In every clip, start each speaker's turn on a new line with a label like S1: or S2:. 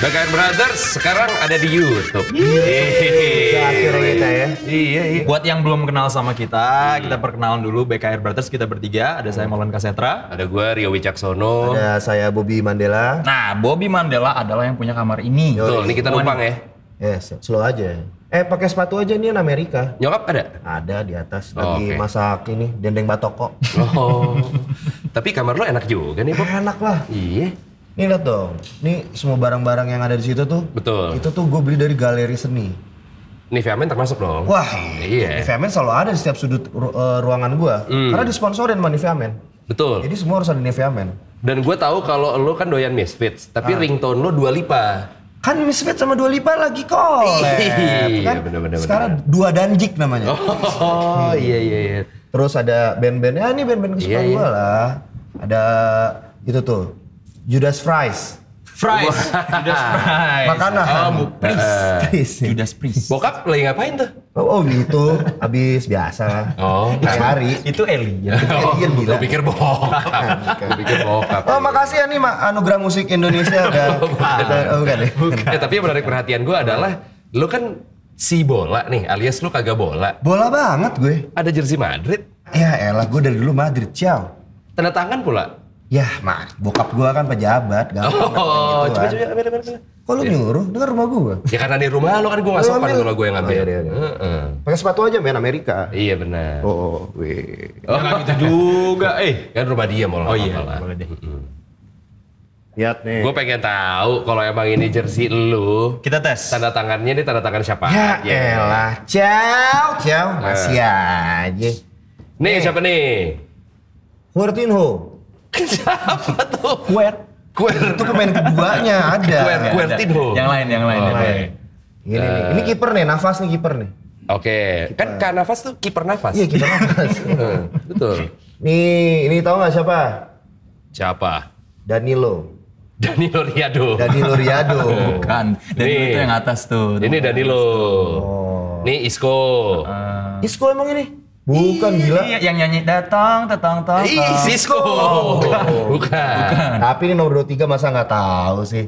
S1: KKN Brothers sekarang ada di YouTube.
S2: Udah akhirnya kita ya.
S1: Iya, iya.
S3: Buat yang belum kenal sama kita,
S1: Hmm.
S3: kita perkenalan dulu BKR Brothers kita bertiga, ada saya Maulana Kasetra.
S1: Ada gue Rio Wicaksono.
S2: Ada Ya, saya Bobby Mandela.
S3: Nah, Bobby Mandela adalah yang punya kamar ini.
S1: Betul, ini kita numpang ya.
S2: Yes, slow aja. Eh pakai sepatu aja nih Amerika.
S1: Nyokap ada?
S2: Ada di atas
S1: Oh,
S2: lagi
S1: oke.
S2: masak ini dendeng batoko.
S1: Oh. Tapi kamar lo enak juga nih, Bob.
S2: Enak lah.
S1: Iya.
S2: Nih lihat dong. Nih semua barang-barang yang ada di situ tuh.
S1: Betul.
S2: Itu tuh gue beli dari galeri seni.
S1: Nih Viamen termasuk dong.
S2: Wah.
S1: Iya. Hmm.
S2: Nifamen selalu ada di setiap sudut ru- eh, ruangan gua. Karena disponsorin sama Nifamen.
S1: Betul.
S2: Jadi semua harus ada Nifamen.
S1: Dan gue tahu kalau lo kan doyan Misfits,
S2: Ah.
S1: tapi ringtone lo Dua Lipa.
S2: Kan Misfit sama Dua Lipa lagi collab.
S1: Iya,
S2: kan?
S1: bener-bener,
S2: Sekarang Dua Danjik namanya.
S1: Oh, iya iya iya.
S2: Terus ada band-band, ya ini band-band kesukaan
S1: Iya,
S2: gua lah. Ada itu tuh, Judas Fries.
S3: Fries, Judas
S1: Ah.
S3: Fries.
S2: Makanan.
S3: Oh, bu- Priest.
S2: Fries.
S3: Judas Priest.
S1: Bokap lagi ngapain tuh?
S2: Oh, oh gitu, habis biasa lah.
S1: Oh.
S2: Tiap hari.
S3: Itu Elia.
S2: Oh, iya,
S1: Gue
S2: gila.
S1: pikir bokap. Gue pikir bokap.
S2: Oh, makasih ya nih Ma, Anugerah Musik Indonesia udah. udah- oh, bukan deh.
S1: Ya, tapi yang menarik perhatian gue adalah lu kan si bola nih, alias lu kagak bola.
S2: Bola banget gue.
S1: Ada jersey Madrid,
S2: Ya elah, gue dari dulu Madrid, ciao.
S1: tanda tangan pula.
S2: Yah, mah, bokap gua kan pejabat, gampang.
S1: Oh, coba
S2: gitu kan.
S1: coba Iya. ambil ambil. ambil.
S2: Kok lu nyuruh? Dengar rumah gua.
S1: Ya karena di rumah lu kan gue gak
S2: Lu
S1: sopan
S2: ambil.
S1: kalau gue yang ngambil.
S2: Oh, iya, iya, iya.
S1: Heeh.
S2: Pakai sepatu aja main Amerika.
S1: Iya benar.
S2: Oh, oh, weh.
S3: Jangan gitu juga, eh.
S1: Kan rumah dia mau
S3: Oh iya, boleh deh.
S2: Lihat nih.
S1: Gue pengen tahu kalau emang ini jersey lu,
S3: Kita tes.
S1: tanda tangannya ini tanda tangan siapa?
S2: Ya
S1: aja?
S2: elah, ciao, ciao, masih aja.
S1: Nih
S2: Eh.
S1: siapa nih?
S2: Huertinho,
S1: siapa tuh?
S3: Kuer.
S1: Kue
S2: itu pemain keduanya ada.
S1: Kuer- kuer. Kuertino.
S2: ya.
S3: Yang lain, yang lain.
S1: Oh,
S3: yang
S2: Main.
S3: lain.
S2: Ini nih, ini kiper nih, nafas nih kiper nih.
S1: Oke, kan Kak Nafas tuh kiper nafas.
S2: Iya kiper nafas.
S1: Heeh, Betul.
S2: nih, ini tahu nggak siapa?
S1: Siapa?
S2: Danilo,
S1: Danilo Riado.
S2: Danilo Riado.
S3: Bukan. Dan
S1: Nih.
S3: itu yang atas tuh.
S1: Ini Danilo.
S2: Oh.
S1: Nih Isco.
S2: Isco emang ini? Bukan gila.
S3: Iya, yang nyanyi datang, datang, datang.
S1: Ih, si Isco. Bukan. iya.
S2: Tapi ini nomor 23 masa nggak tahu sih.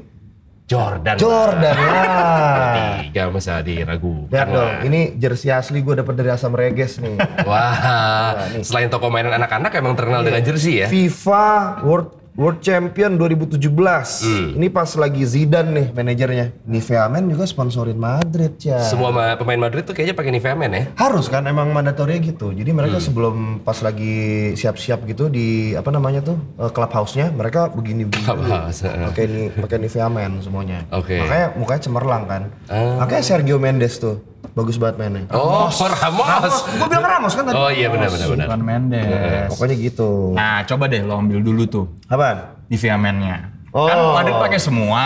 S1: Jordan.
S2: Jordan lah.
S1: Tiga masa diragukan
S2: Lihat dong,
S1: lah.
S2: ini jersey asli gue dapet dari Asam Reges nih.
S1: Wah, selain toko mainan anak-anak emang terkenal dengan jersey
S2: Iya.
S1: ya?
S2: FIFA World World Champion 2017.
S1: Hmm.
S2: Ini pas lagi Zidane nih manajernya. Nivea Men juga sponsorin Madrid ya.
S1: Semua ma- pemain Madrid tuh kayaknya pakai Nivea ya?
S2: Harus kan emang mandatornya gitu. Jadi
S1: Hmm.
S2: mereka sebelum pas lagi siap-siap gitu di apa namanya tuh eh, clubhouse-nya mereka begini begini.
S1: Clubhouse, heeh.
S2: Pakai ini pakai Nivea Men semuanya.
S1: Oke. Ah.
S2: Makanya mukanya cemerlang kan. Makanya Sergio Mendes tuh bagus banget mainnya.
S1: Oh, Ramos.
S2: Gue bilang Ramos kan tadi.
S1: Oh iya benar benar benar.
S3: Bukan
S1: Oh.
S3: Mendes.
S2: Pokoknya gitu.
S3: Nah, coba deh lo ambil dulu tuh
S2: Apaan?
S3: Nivea Man-nya.
S2: Oh.
S3: Kan Madrid pakai semua.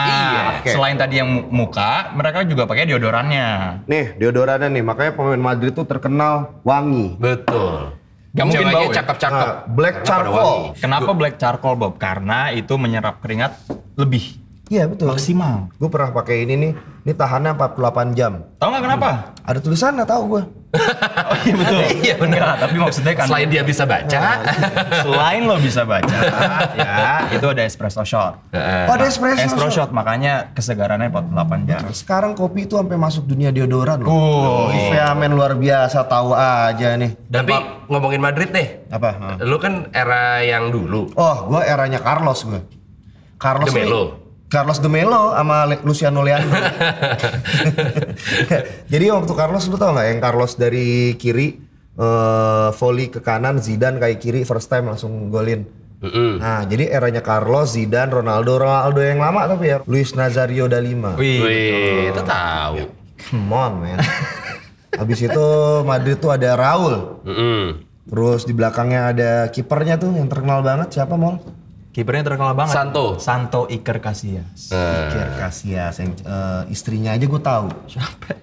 S1: Iya.
S3: Selain tadi yang mu- muka, mereka juga pakai deodorannya.
S2: Nih, deodorannya nih, makanya pemain Madrid tuh terkenal wangi.
S1: Betul. Gak
S3: mungkin
S1: mungkin
S3: bau ya?
S1: cakep-cakep.
S2: Nah, black
S1: Karena pada
S2: charcoal.
S3: Kenapa black charcoal Bob? Karena itu menyerap keringat lebih
S2: Iya, betul.
S3: maksimal.
S2: Gue pernah pakai ini nih, ini tahannya 48 jam.
S3: Tahu nggak kenapa?
S2: Ada tulisannya tahu gua.
S3: Oh iya betul. iya benar. tapi maksudnya
S1: wangi.
S3: kan
S1: Selain dia bisa baca,
S3: Iya. selain lo bisa baca, ya itu ada espresso shot.
S2: Oh, ada espresso.
S3: Espresso shot makanya kesegarannya 48 jam.
S2: Sekarang kopi itu sampai masuk dunia deodoran loh.
S3: Oh.
S2: Nivea men luar biasa, tahu aja nih.
S1: tapi ngomongin Madrid deh.
S2: Apa? Hah?
S1: Lu kan era yang dulu.
S2: Oh, gua eranya Carlos gua. Carlos
S1: De Melo.
S2: ini- Carlos De Melo sama Le- Luciano Leandro. Jadi waktu Carlos lu tau nggak yang Carlos dari kiri eh volley ke kanan Zidane kayak kiri first time langsung golin.
S1: Mm-mm.
S2: Nah, jadi eranya Carlos, Zidane, Ronaldo, Ronaldo yang lama tapi ya Luis Nazario da Lima.
S3: Wih.
S1: Wih, Ya. itu tahu.
S2: Come on, man. Habis itu Madrid tuh ada Raul.
S1: Mm-mm.
S2: Terus di belakangnya ada kipernya tuh yang terkenal banget siapa, Mol?
S3: Kipernya terkenal banget.
S1: Santo.
S3: Santo Iker Casillas.
S1: Nah.
S2: Iker Casillas yang eh, istrinya aja gue tahu.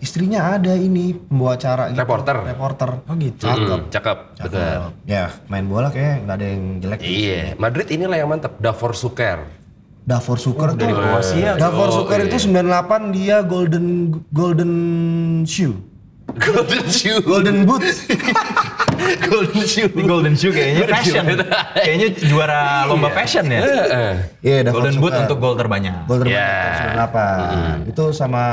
S2: Istrinya ada ini pembawa acara gitu.
S1: Reporter.
S2: Reporter.
S3: Oh gitu.
S2: Cakep.
S1: Mm, Cakep.
S2: Cakep.
S1: Betul.
S2: Ya, main bola kayaknya nggak ada yang jelek.
S1: Iya, Madrid inilah yang mantap. Davor Suker.
S2: Davor Suker
S3: Oh,
S2: tuh.
S3: Kroasia.
S1: Oh,
S2: Davor Suker itu 98 dia golden golden shoe.
S1: Golden Shoe.
S2: Golden boot.
S1: Golden Shoe.
S3: Ini Golden Shoe kayaknya fashion. kayaknya juara lomba fashion ya.
S1: Heeh.
S2: Iya, Davor
S3: Golden Boot
S2: Suter.
S3: untuk gol terbanyak.
S2: Gol terbanyak
S1: Ya.
S2: tahun 98. Itu sama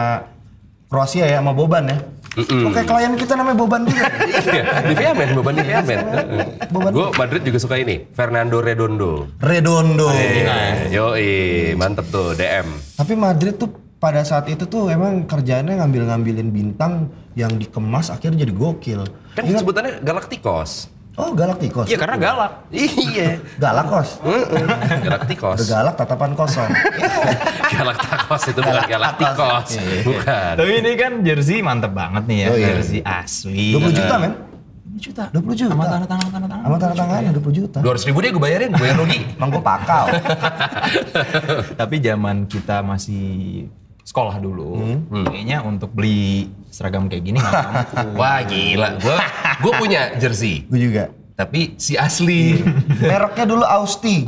S2: Kroasia ya, sama Boban ya. Kok kayak klien kita namanya Boban juga. ya?
S1: Iya, Nivea Men, beban Nivea Men.
S2: Beban.
S1: Gue Madrid juga suka ini, Fernando Redondo.
S2: Redondo.
S1: Iya. Yo, mantep tuh DM.
S2: Tapi Madrid tuh pada saat itu tuh emang kerjaannya ngambil-ngambilin bintang yang dikemas akhirnya jadi gokil.
S1: Kan sebutannya Galacticos.
S2: Oh, Galacticos.
S3: Iya karena galak.
S1: Iya.
S2: Galakos.
S1: Galacticos.
S2: Bergalak tatapan kosong.
S1: Galacticos itu bukan Galacticos. Bukan.
S3: Tapi ini kan jersey mantep banget nih ya.
S2: Oh, iya.
S3: Jersey asli.
S2: 20 juta, men.
S3: 20 juta.
S2: 20 juta.
S3: Sama tanda tangan, tanda tangan. Iya.
S2: Sama tanda tangannya 20 juta.
S1: 200 ribu deh gue bayarin, gue yang rugi.
S2: Emang gue pakau.
S3: Tapi zaman kita masih sekolah dulu,
S2: Hmm.
S3: Hmm. kayaknya untuk beli seragam kayak gini nggak mampu.
S1: Wah gila, gue gue punya jersey,
S2: gue juga.
S1: tapi si asli.
S2: Iya. Mereknya dulu Austi,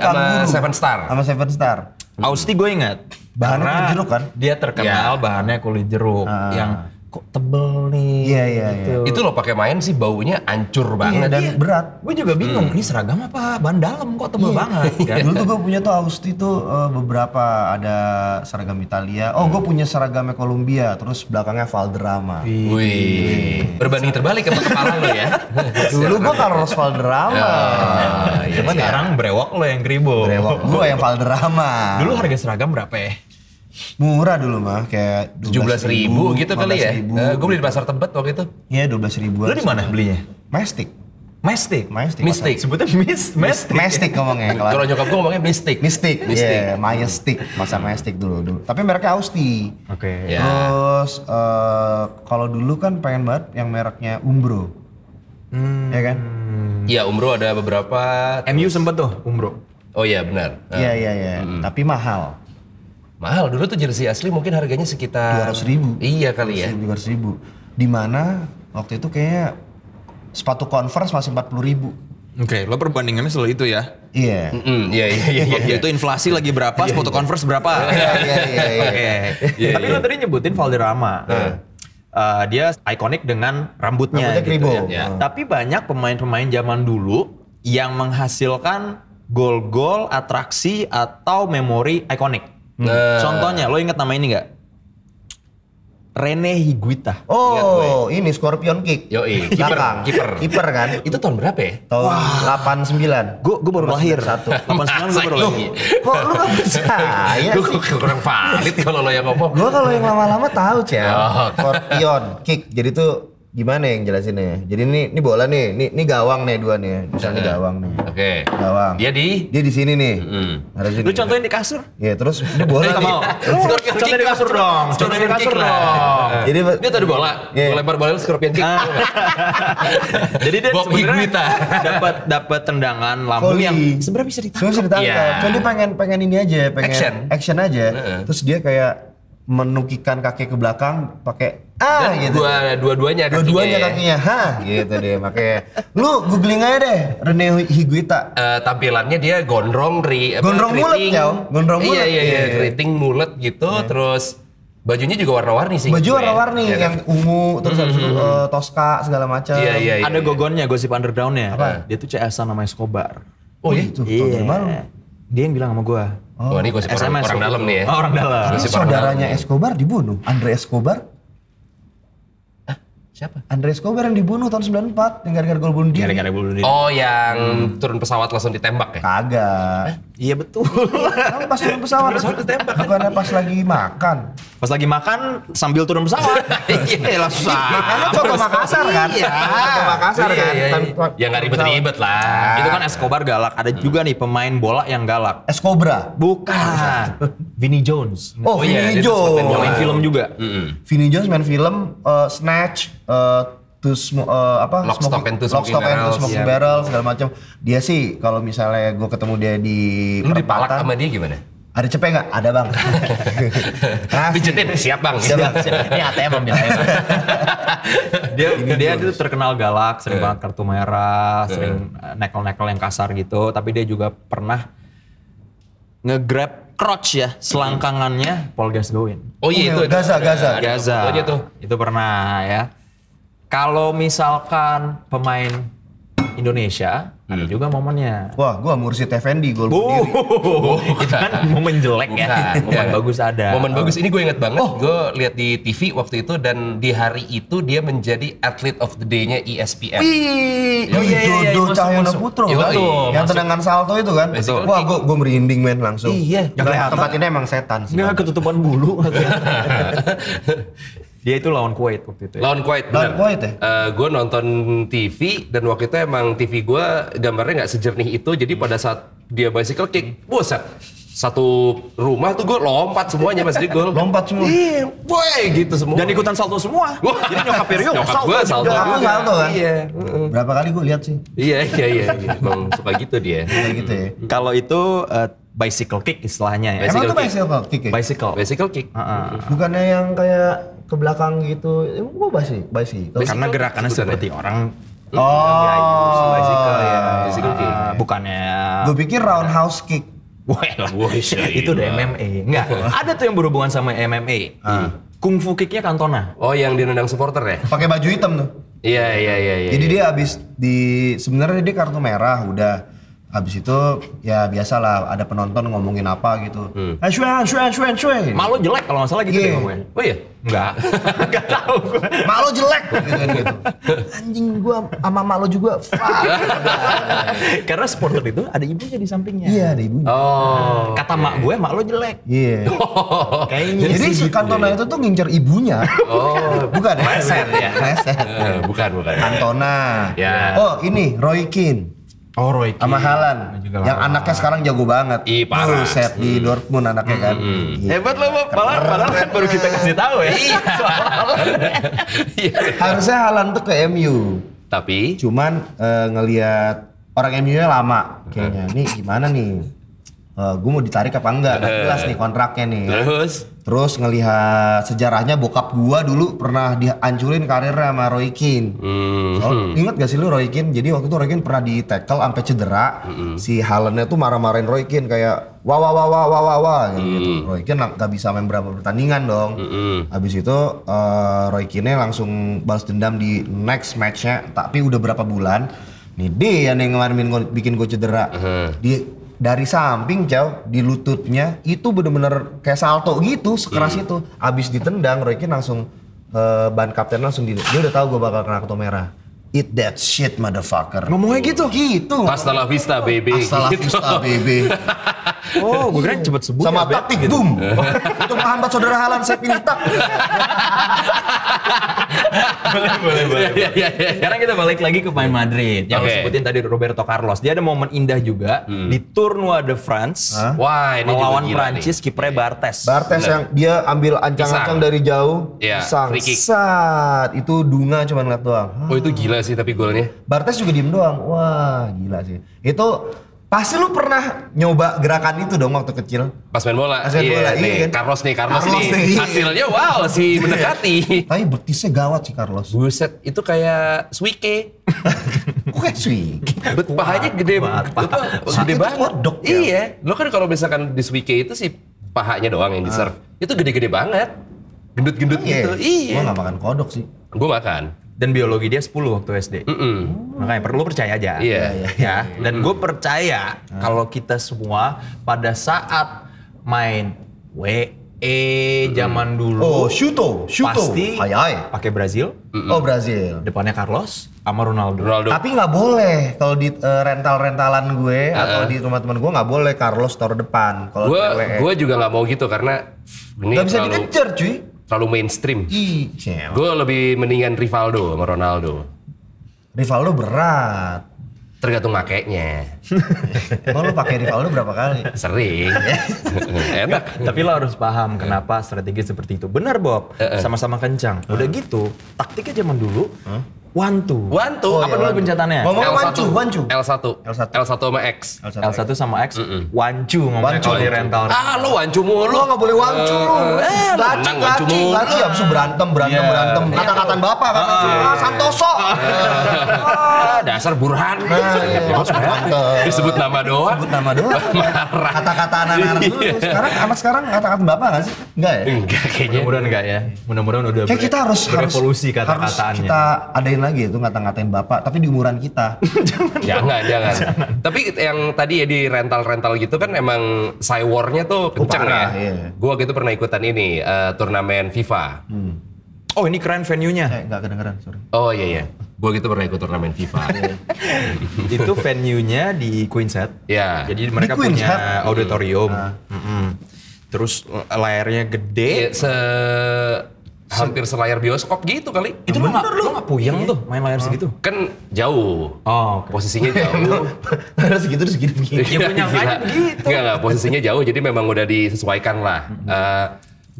S1: sama
S2: kanguru.
S1: Seven Star.
S2: Sama Seven Star.
S3: Austi gue ingat.
S2: Bahannya
S3: Karena
S2: kulit jeruk, kan?
S3: Dia terkenal bahannya kulit jeruk
S2: Ah.
S3: yang kok tebel nih.
S2: Iya, iya, iya.
S1: Itu lo pakai main sih baunya ancur
S2: Iya,
S1: banget.
S2: dan berat.
S3: Gue juga bingung,
S2: Hmm.
S3: ini seragam apa? Bahan dalam kok
S2: Iya.
S3: tebel banget. kan?
S2: Dulu tuh gue punya tuh Austi tuh eh, beberapa ada seragam Italia. Oh gue punya seragamnya Kolombia, terus belakangnya Valderrama.
S1: Wih, berbanding terbalik sama kepala lo ya.
S2: Dulu gue Carlos Valderrama.
S1: Ah, iya,
S2: ya,
S3: Cuman
S1: iya.
S3: sekarang brewok lo yang kribo.
S2: Brewok gue yang Valderrama.
S3: Dulu harga seragam berapa ya?
S2: murah dulu mah kayak
S1: 17 ribu gitu kali ya. Eh, gue beli di pasar Tebet waktu itu.
S2: Iya dua belas ribu.
S3: Lo di mana belinya?
S2: Mastic.
S3: Mastic.
S2: Mastic.
S1: Mystic.
S3: Sebutnya mis, mastic.
S2: Mastic ngomongnya. kalau-
S1: Kalau nyokap gue ngomongnya mystic.
S2: Mystic,
S1: Mystic.
S2: Iya, Majestic, masa Majestic dulu dulu. Tapi mereknya Austi.
S3: Oke.
S1: Ya.
S2: Terus eh, kalau dulu kan pengen banget yang mereknya Umbro. Ya kan?
S1: Iya, Umro ada beberapa.
S3: MU sempet tuh, Umbro.
S1: Oh iya benar. Eh,
S2: Iya iya iya. Tapi mahal.
S1: Mahal dulu tuh jersey asli mungkin harganya sekitar
S2: 200 ribu.
S1: Iya kali ya.
S2: Dua ratus ribu. Di mana waktu itu kayaknya sepatu Converse masih empat puluh ribu.
S4: Oke, lo perbandingannya selalu itu ya.
S2: Iya.
S1: Mm, Iya iya iya. iya.
S4: Yaitu inflasi lagi berapa,
S3: iya.
S4: foto converse berapa.
S2: Iya iya iya. iya.
S3: Oke. Tapi lo tadi nyebutin Valderrama.
S4: Iya.
S3: Nah, Eh, dia ikonik dengan
S2: Rambutnya
S3: rambutnya, gitu
S2: kribo.
S3: ya.
S2: Ya.
S3: Tapi banyak pemain-pemain zaman dulu yang menghasilkan gol-gol atraksi atau memori ikonik.
S1: Nah.
S3: Contohnya, lo inget nama ini nggak? Rene Higuita.
S2: Oh, ini Scorpion Kick.
S1: Yoi, kiper,
S2: Belakang.
S1: kiper.
S2: Kiper kan?
S1: Itu tahun berapa ya?
S2: Tahun 89.
S3: Gue gue baru lahir. Satu. 89 gue baru lahir.
S2: Kok lu gak percaya
S1: Gue
S2: Iya sih?
S1: kurang valid kalau lo yang ngomong.
S2: Gue kalau yang lama-lama tahu cel.
S1: Oh.
S2: Scorpion, kick. Jadi tuh gimana yang jelasinnya? Jadi ini ini bola nih, ini, ini gawang nih dua nih. Misalnya gawang nih.
S1: Oke.
S2: Gawang.
S1: Dia di
S2: Dia di sini nih.
S1: Mm.
S2: Ada sini.
S3: Lu contohin di kasur.
S2: Iya, terus ini bola
S3: Nggak
S2: nih.
S3: mau.
S2: Oh,
S3: Contohin di kasur dong. Contohin di kasur dong.
S2: Jadi
S1: Dia tadi bola,
S2: Iya. Ah,
S1: gua lempar bola lu scorpion kick.
S3: Jadi dia
S1: Ah. Bob
S3: sebenarnya
S1: Higuita.
S3: dapat dapat tendangan lambung
S2: Volley.
S3: yang sebenarnya bisa ditangkap.
S2: Cuma bisa ditangkap.
S1: Iya.
S2: Cuma dia pengen pengen ini aja, pengen
S1: Action.
S2: aja. Terus dia kayak menukikan kaki ke belakang pakai ah
S1: Dan
S2: gitu.
S1: dua dua-duanya kakinya.
S2: Dua-duanya kakinya, hah gitu deh makanya. Lu googling aja deh, Rene Higuita.
S1: Eh, tampilannya dia gondrong ri apa,
S2: Gondrong mulet,
S1: keriting.
S2: Yao. Gondrong
S1: iya,
S2: mulet.
S1: Iya iya
S2: Iya, iya.
S1: keriting mulet gitu terus bajunya juga warna-warni sih.
S2: Baju
S1: gitu ya.
S2: warna-warni
S1: Iya, Hmm,
S2: yang ungu, terus habis itu eh, toska segala macam.
S1: Iya iya iya.
S3: Ada gogonnya gosip undergroundnya.
S2: Apa?
S3: Dia tuh CS-an namanya Escobar.
S2: Oh itu, iya. baru.
S3: Dia yang bilang sama gua.
S2: Oh.
S1: Wah, ini gosip orang, orang
S3: SMS waktu
S1: dalam
S3: itu.
S1: nih ya.
S3: Oh, orang dalam.
S1: Terus- si Parma.
S2: saudaranya Escobar dibunuh, Andre Escobar.
S1: Siapa?
S2: Andre Escobar yang dibunuh tahun 94 yang gara-gara gol bunuh diri.
S3: Gara-gara bulu diri.
S1: Oh yang
S3: Hmm.
S1: turun pesawat langsung ditembak ya.
S2: Kagak.
S3: Iya betul.
S2: Kamu pas turun pesawat, bukannya pas lagi makan.
S3: Pas lagi makan sambil turun pesawat.
S1: Iya langsung.
S2: Kan lu coba Makassar kan?
S1: Iya.
S2: Coba Makassar
S1: Iya,
S2: kan?
S1: iya, iya.
S2: Tan-
S1: Ya nggak ribet-ribet lah. Gitu
S3: Itu kan Escobar galak. Ada juga nih pemain bola yang galak.
S2: Escobra.
S3: Bukan. Vinnie Jones.
S1: Oh
S2: Oh,
S1: iya, dia
S2: Vinny
S1: tuh sempat
S3: Yang main
S2: Jones.
S3: film juga.
S1: Mm-mm.
S2: Vinny Jones main film eh, Snatch, eh, to Smo- eh, apa?
S1: Lock,
S2: Smoking-
S1: Stock and Two
S2: Lock,
S1: Smoking
S2: Stock and Two
S1: Barrels,
S2: Smoking
S1: iya.
S2: Barrel segala macam. Dia sih kalau misalnya gue ketemu dia di
S1: Lu dipalak
S2: perempatan,
S1: sama dia gimana?
S2: ada cepet nggak? Ada bang. Kasih.
S1: Pijetin, siap bang.
S2: Siap, Bang. Ini ATM ambil ATM.
S3: dia
S1: kan
S3: dia itu terkenal galak, sering
S1: Eh.
S3: banget kartu merah, sering eh, nekel-nekel yang kasar gitu, tapi dia juga pernah nge-grab crotch ya, selangkangannya Paul Gascoigne.
S1: Oh iya itu.
S2: Gaza, Gaza.
S1: Gaza.
S3: Gaza. Itu pernah ya. Kalau misalkan pemain Indonesia
S1: Hmm.
S3: ada juga momennya.
S2: Wah, gua ngurusin Effendi gol
S3: Oh,
S2: berdiri.
S3: itu kan momen jelek ya.
S1: Bukan,
S3: Momen
S1: ya.
S3: bagus ada.
S1: Momen bagus ini gue inget banget. Gue lihat di TV waktu itu dan di hari itu dia menjadi atlet of the day-nya E ESPN.
S2: Wih,
S3: Iya, iya, iya,
S2: Dodo
S3: masuk,
S2: Cahyono
S3: masuk.
S2: Putro
S1: Iya,
S2: kan?
S1: iya,
S2: Yang tendangan salto itu kan?
S1: Betul.
S2: Wah, gua gua merinding men langsung.
S3: Iya,
S2: Nggak, tempat ini emang setan sih.
S3: Nggak ketutupan bulu. Dia itu lawan Kuwait waktu itu. Ya.
S1: Lawan Kuwait, benar.
S2: Lawan Kuwait ya?
S1: gue nonton TV dan waktu itu emang TV gue gambarnya nggak sejernih itu. Jadi pada saat dia bicycle kick, buset. Satu rumah tuh gue lompat semuanya pas di gol.
S2: Lompat semua.
S1: Iya, boy gitu semua.
S3: Dan ikutan salto semua.
S1: Wah.
S3: Jadi nyokap Rio
S1: Nyokap gua salto.
S2: Nggak, aku
S1: juga.
S2: salto kan?
S1: Iya.
S2: Berapa kali gua lihat sih?
S1: Iya, iya, iya. iya. Emang suka gitu dia.
S2: Kayak gitu ya.
S3: Kalau itu eh, bicycle kick istilahnya
S2: Emang
S3: ya.
S1: Bicycle
S2: tuh bicycle kick ya?
S3: Bicycle. Ah,
S1: Bicycle kick.
S3: Heeh.
S2: Bukannya yang kayak ke belakang gitu. Emang gua bicycle, bicycle.
S3: Karena gerakannya seperti orang
S2: Oh,
S3: bicycle ya.
S1: Bicycle iya. kick.
S3: Ah, bukannya
S2: Gue pikir roundhouse kick.
S3: Wah, lah.
S1: Wah, syailah.
S3: itu udah MMA. Enggak, ada tuh yang berhubungan sama MMA. Kungfu kicknya Cantona.
S1: Oh, yang dinendang supporter ya?
S2: Pakai baju hitam tuh.
S1: Iya, iya, iya, iya.
S2: Jadi dia abis di sebenarnya dia kartu merah udah habis itu ya biasalah ada penonton ngomongin apa gitu.
S1: Hmm.
S2: Eh Shuen, Shuen, Shuen, Shuen.
S3: Malu jelek kalau nggak salah gitu
S2: Iya.
S3: deh ngomongnya.
S1: Oh iya.
S3: Enggak, enggak tahu gue.
S2: Malu jelek gitu kan gitu. Anjing gua sama malu juga. Fuck.
S3: Karena supporter itu ada ibunya di sampingnya.
S2: Iya, ada ibunya.
S1: Oh.
S3: Kata mak gue, mak lo jelek.
S1: iya
S2: Iya.
S3: Kayaknya
S2: Jadi si Kantona itu tuh ngincer ibunya.
S1: gitu ya. Oh.
S2: Bukan ya?
S3: Meleset ya.
S2: Meleset.
S1: Eh, bukan, bukan.
S2: Kantona.
S1: Ya. Iya.
S2: Oh, ini Roy Keane.
S3: Oh, Roy
S2: sama
S3: Keane.
S2: Haaland
S3: Juga
S2: yang
S3: Haaland.
S2: anaknya sekarang jago banget.
S1: Ih, parah. Hmm.
S2: Buset, di Dortmund anaknya kan. Iya.
S1: Eh,
S3: Hebat lo, Bob. Padahal, padahal kan baru kita kasih tahu ya.
S1: Iya.
S2: Harusnya Haaland tuh ke MU.
S1: Tapi
S2: Cuman eh, ngelihat orang MU-nya lama kayaknya. Nih gimana nih? gue mau ditarik apa enggak? Gak jelas nih kontraknya nih.
S1: terus
S2: Terus ngelihat sejarahnya bokap gua dulu pernah dihancurin karirnya sama Roy Keane.
S1: hmm,
S2: Soal- ingat gak sih lu Roy Keane? Jadi waktu itu Roy Keane pernah di tackle sampai cedera. Si Haalandnya tuh marah-marahin Roy Keane kayak wah wah wah wah wah wah wah kayak gitu. Roy Keane lang- gak bisa main berapa pertandingan dong.
S1: hmm.
S2: Habis itu eh, Roy Keane langsung balas dendam di next matchnya tapi udah berapa bulan. Nih dia yang kemarin bikin gua- bikin gue cedera. Di dari samping jauh di lututnya itu bener-bener kayak salto gitu sekeras itu. Abis ditendang Roy Keane langsung eh ban kapten langsung di dia udah tahu gue bakal kena kartu merah eat that shit motherfucker ngomongnya gitu gitu
S1: hasta la vista baby. Gitu.
S2: Hasta la vista, baby.
S3: Oh, gue kira cepet sebut.
S2: sama
S3: ya, Bet.
S2: taktik boom untuk menghambat saudara halan saya pilih tak
S3: boleh, boleh, boleh.
S1: Iya, iya, iya.
S3: Sekarang kita balik lagi ke pemain Madrid. Yang
S1: Oke.
S3: lo sebutin tadi Roberto Carlos. Dia ada momen indah juga di Tournoi de France.
S2: Hah?
S1: Wah, Ah, ini juga
S3: melawan
S1: gila
S3: Prancis, kipernya Bartes.
S2: Bartes yang dia ambil
S1: Pisang.
S2: ancang-ancang dari jauh
S1: Iya,
S2: sang
S1: free kick.
S2: sat itu dunga cuma ngeliat doang Hah?
S1: nih. Oh itu gila sih tapi golnya.
S2: Bartes juga diem doang wah gila sih itu pasti lu pernah nyoba gerakan itu dong waktu kecil
S1: Pas main bola.
S2: Pas main bola,
S1: nih,
S2: iya kan?
S1: Carlos nih, Carlos, nih.
S2: Carlos nih. Iya.
S1: Hasilnya wow sih mendekati.
S2: tapi betisnya gawat sih Carlos
S1: Buset, itu kayak Swike.
S2: kok kayak swing
S1: Bet pahanya gede
S3: kuat,
S1: bet-
S3: paha.
S1: gede
S2: Sakit
S1: banget.
S2: kodok ya.
S1: Iya, lo kan kalau misalkan di Swike itu sih pahanya doang
S2: Ah.
S1: yang di serve. Itu gede-gede banget. Gendut-gendut gitu. Iya.
S2: Gua gak makan kodok sih
S1: Gue makan.
S3: Dan biologi dia 10 waktu SD.
S1: Mm-mm.
S3: Makanya perlu percaya aja.
S1: Hmm. Iya. Hmm.
S3: Ya. Dan gue percaya kalau kita semua pada saat main
S1: Hmm.
S3: WE
S2: Oh,
S3: zaman dulu
S2: Shuto, Shuto.
S3: pasti
S2: Hai, hai.
S3: pakai Brazil,
S2: Oh, Brazil.
S3: depannya Carlos sama Ronaldo.
S1: Ronaldo.
S2: Tapi nggak boleh kalau di eh, rental-rentalan gue atau di rumah teman gue nggak boleh Carlos taruh depan. Kalau
S1: Gue
S2: cewek.
S1: gue juga nggak mau gitu karena pff, ini
S2: nggak bisa
S1: terlalu
S2: dikejar, cuy.
S1: terlalu mainstream.
S2: Ih, cewek.
S1: Gue lebih mendingan Rivaldo sama Ronaldo.
S2: Rivaldo berat.
S1: Tergantung makainya.
S2: Kalau lu pakai Rivaldo berapa kali?
S1: Sering. Enak.
S3: Tapi lo harus
S2: Iya.
S3: paham kenapa
S2: Iya.
S3: strategi seperti itu. Benar Bob, sama-sama kencang. Udah gitu, taktiknya zaman dulu One two.
S1: One
S2: Oh,
S1: two.
S3: Apa
S1: Apa
S3: dulu
S1: dulu
S3: pencetannya?
S2: iya, Ngomong-
S1: L1.
S2: Wancu, Wancu.
S1: L1.
S2: L1.
S1: L1 sama X.
S3: L1 sama X, One two ngomongnya
S2: Wancu.
S3: kalau di rental.
S1: Ah, lu wancu mulu.
S2: Lu nggak boleh wancu lu. Eh, laci,
S1: menang wancu
S2: laci,
S1: mulu.
S2: laci. Abis itu berantem, berantem,
S3: Iya.
S2: berantem. Kata-kataan bapak kan. Ah, Santoso.
S1: Ah, dasar Burhan.
S2: Nah, iya. Mantep.
S1: Disebut nama doang. Disebut
S2: Nama doang.
S1: Marah.
S2: Kata-kata anak-anak dulu.
S1: Iya.
S2: Sekarang anak sekarang kata-kataan bapak nggak sih? Enggak ya?
S1: Enggak kayaknya.
S3: Mudah-mudahan enggak ya. Mudah-mudahan udah
S2: Iya. Kayak
S3: ber-
S2: kita harus
S3: berevolusi
S2: harus, harus
S3: kata-kataannya.
S2: kita adain lagi itu ngata-ngatain bapak, tapi di umuran kita.
S1: Jangan, jangan. Tapi yang tadi ya di rental-rental gitu kan emang cywarnya tuh kenceng ya.
S2: parah, iya.
S1: Gua gitu pernah ikutan ini eh, turnamen FIFA.
S3: Oh, ini keren venue-nya.
S2: Hmm. eh, nggak kedengeran, sorry.
S1: Oh iya iya. Gua gitu pernah ikut turnamen FIFA.
S2: Iya.
S3: Itu venue-nya di Queenset.
S1: ya.
S3: Jadi mereka
S2: Queen's
S3: punya
S2: Head. Ah.
S3: auditorium. Mm-mm. Terus l- layarnya
S1: Ya,
S2: Iya.
S3: gede.
S1: se hampir selayar bioskop gitu kali.
S3: Itu lu nggak lu nggak puyeng
S2: Iya.
S3: tuh main layar
S2: Ah.
S3: segitu?
S1: Kan jauh.
S3: Oh, oke.
S1: Posisinya
S2: iya.
S1: jauh.
S2: Terus segitu terus segini begini.
S1: Iya,
S3: punya
S1: gila.
S3: kan begitu.
S1: Enggak, enggak, posisinya jauh jadi memang udah disesuaikan lah. Eh,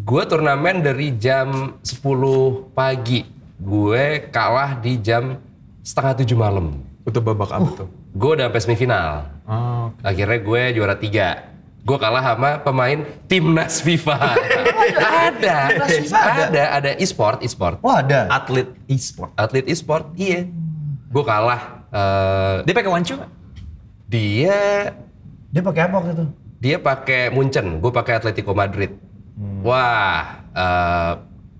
S1: gue turnamen dari jam 10 pagi. Gue kalah di jam setengah tujuh malam.
S3: Itu babak apa
S2: Uh.
S3: tuh?
S1: Gue udah sampai semifinal. Iya.
S3: Oh,
S1: Akhirnya gue juara tiga. Gue kalah sama pemain timnas FIFA. ada,
S2: FIFA ada?
S1: ada, ada e-sport, e-sport.
S2: Wah Oh, ada.
S3: atlet e-sport.
S1: Atlet e-sport, iya. Gue kalah. Eh,
S3: Dia pakai wancu nggak?
S1: dia
S2: Dia pakai apa waktu itu?
S1: Dia pakai Munchen, gue pakai Atletico Madrid.
S2: Hmm.
S1: Wah, eh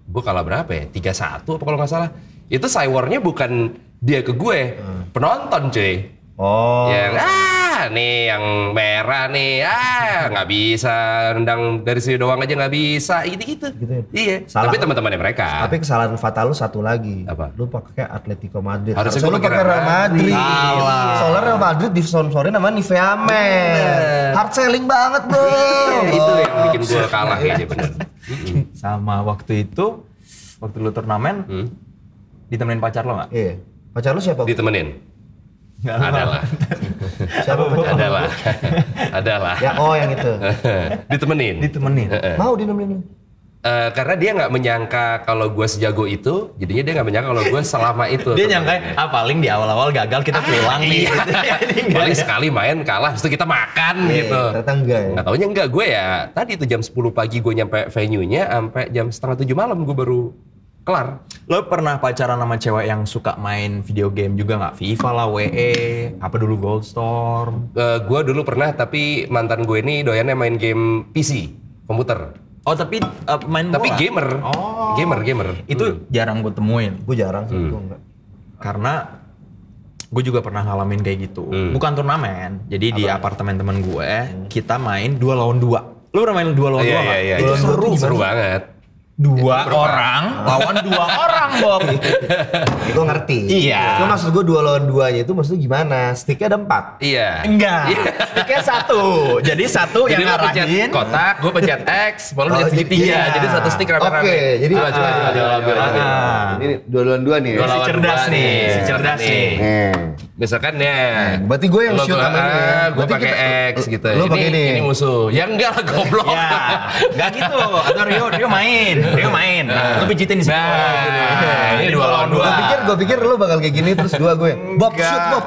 S1: gue kalah berapa ya? 3-1 apa kalau nggak salah? Itu cywarnya bukan dia ke gue, penonton cuy.
S2: Hmm. Oh.
S1: Yang ah nih yang merah nih, ah nggak bisa nendang dari sini doang aja nggak bisa, gitu-gitu.
S2: Gitu ya?
S1: Iya.
S2: Salah.
S1: Tapi teman-temannya mereka.
S2: Tapi kesalahan fatal lu satu lagi.
S1: Apa?
S2: Lu pakai Atletico Madrid.
S1: Harusnya gua
S2: lu
S1: pakai
S2: pakai
S1: Real
S2: Real Madrid.
S1: Madrid.
S2: Soalnya Real Madrid di sponsorin nama Nivea
S1: Bener.
S2: Men. Hard selling banget, Bro.
S1: Iya, itu ya. yang bikin gue kalah
S2: Iya.
S1: kayaknya bener.
S3: Sama waktu itu waktu lu turnamen
S1: Hmm.
S3: ditemenin pacar lo nggak?
S2: Iya. Pacar lu siapa?
S1: Ditemenin.
S2: Oh.
S3: Nggak
S1: Adalah,
S2: Siapa pacar?
S1: adalah, adalah.
S2: Ya, oh yang itu.
S1: Ditemenin.
S3: Ditemenin.
S1: Heeh.
S2: Mau dinomenin.
S1: Eh, karena dia nggak menyangka kalau gue sejago itu, jadinya dia nggak menyangka kalau gue selama itu. Iya.
S3: Dia nyangka ah paling di awal-awal gagal kita pulang nih. Ini nggak
S1: Ah,
S3: Iya,
S1: Paling
S3: ya.
S1: sekali main kalah, habis itu kita makan gitu.
S2: Ternyata enggak ya.
S1: Nggak taunya enggak, gue ya tadi itu jam 10 pagi gue nyampe venue-nya, sampai jam setengah tujuh malam gue baru kelar.
S3: Lo pernah pacaran sama cewek yang suka main video game juga nggak? FIFA lah, WE, apa dulu Goldstorm?
S1: Eh, gue dulu pernah, tapi mantan gue ini doyannya main game PC, komputer.
S3: Oh tapi eh, main
S1: Tapi
S3: bola.
S1: gamer,
S3: Oh.
S1: gamer, gamer. Hmm.
S3: itu jarang gue temuin
S2: Gue jarang sih, gua enggak.
S3: karena gue juga pernah ngalamin kayak gitu.
S1: Hmm.
S3: Bukan turnamen, jadi di apartemen temen gue kita main dua lawan dua. Lo pernah main dua
S1: Iya,
S3: lawan dua
S1: iya,
S3: nggak?
S1: iya.
S3: Itu
S1: Itu
S3: seru,
S1: seru banget.
S3: Dua orang lawan dua orang Bob.
S2: Gue ngerti.
S3: Iya.
S2: Cuma maksud gue dua lawan duanya itu maksudnya gimana? Sticknya ada empat.
S1: Iya.
S3: Enggak, sticknya satu. Jadi satu
S1: Jadi
S3: yang
S1: lu pencet
S3: ngarahin.
S1: kotak, gue pencet X, baru
S2: Oh,
S1: pencet segitiga.
S2: iya.
S1: Jadi satu stick rame-rame.
S2: Oke, jadi
S1: Coba, coba, coba, coba, coba, coba.
S3: Ah.
S2: Ini dua lawan dua nih.
S1: Dua
S3: Si
S1: lawan
S3: cerdas
S1: dua
S3: nih, si cerdas nih.
S2: Eh.
S1: Misalkan ya.
S2: Eh, berarti gue yang shoot sama ini ya.
S1: Gue
S2: Berarti
S1: ah, pakai
S2: kita-
S1: X gitu.
S2: Lu pakai ini. Iya.
S1: Ini musuh. Ya enggak lah goblok.
S3: Ya, enggak gitu. Atau Rio, Rio main, Rio main. Nah, lu pijitin di sini.
S1: Nah, ini dua lawan dua.
S2: Gue pikir, gue pikir lu bakal kayak gini terus dua gue. Bob shoot Bob.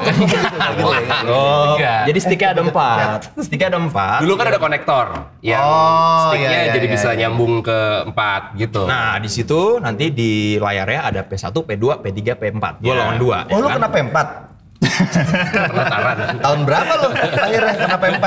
S3: Oh,
S1: Enggak.
S3: jadi sticknya ada empat. Sticknya ada empat.
S1: Dulu kan ada konektor. Yang
S2: Oh,
S1: sticknya
S2: iya, iya,
S1: jadi
S2: iya,
S1: bisa
S2: iya.
S1: nyambung ke empat gitu.
S3: Nah, di situ nanti di layarnya ada P1, P2, P3, P4. Gua
S1: Ya.
S3: lawan Kan? 2.
S2: Oh lu kena P4?
S1: Penataran.
S2: Tahun berapa lu akhirnya kena P4?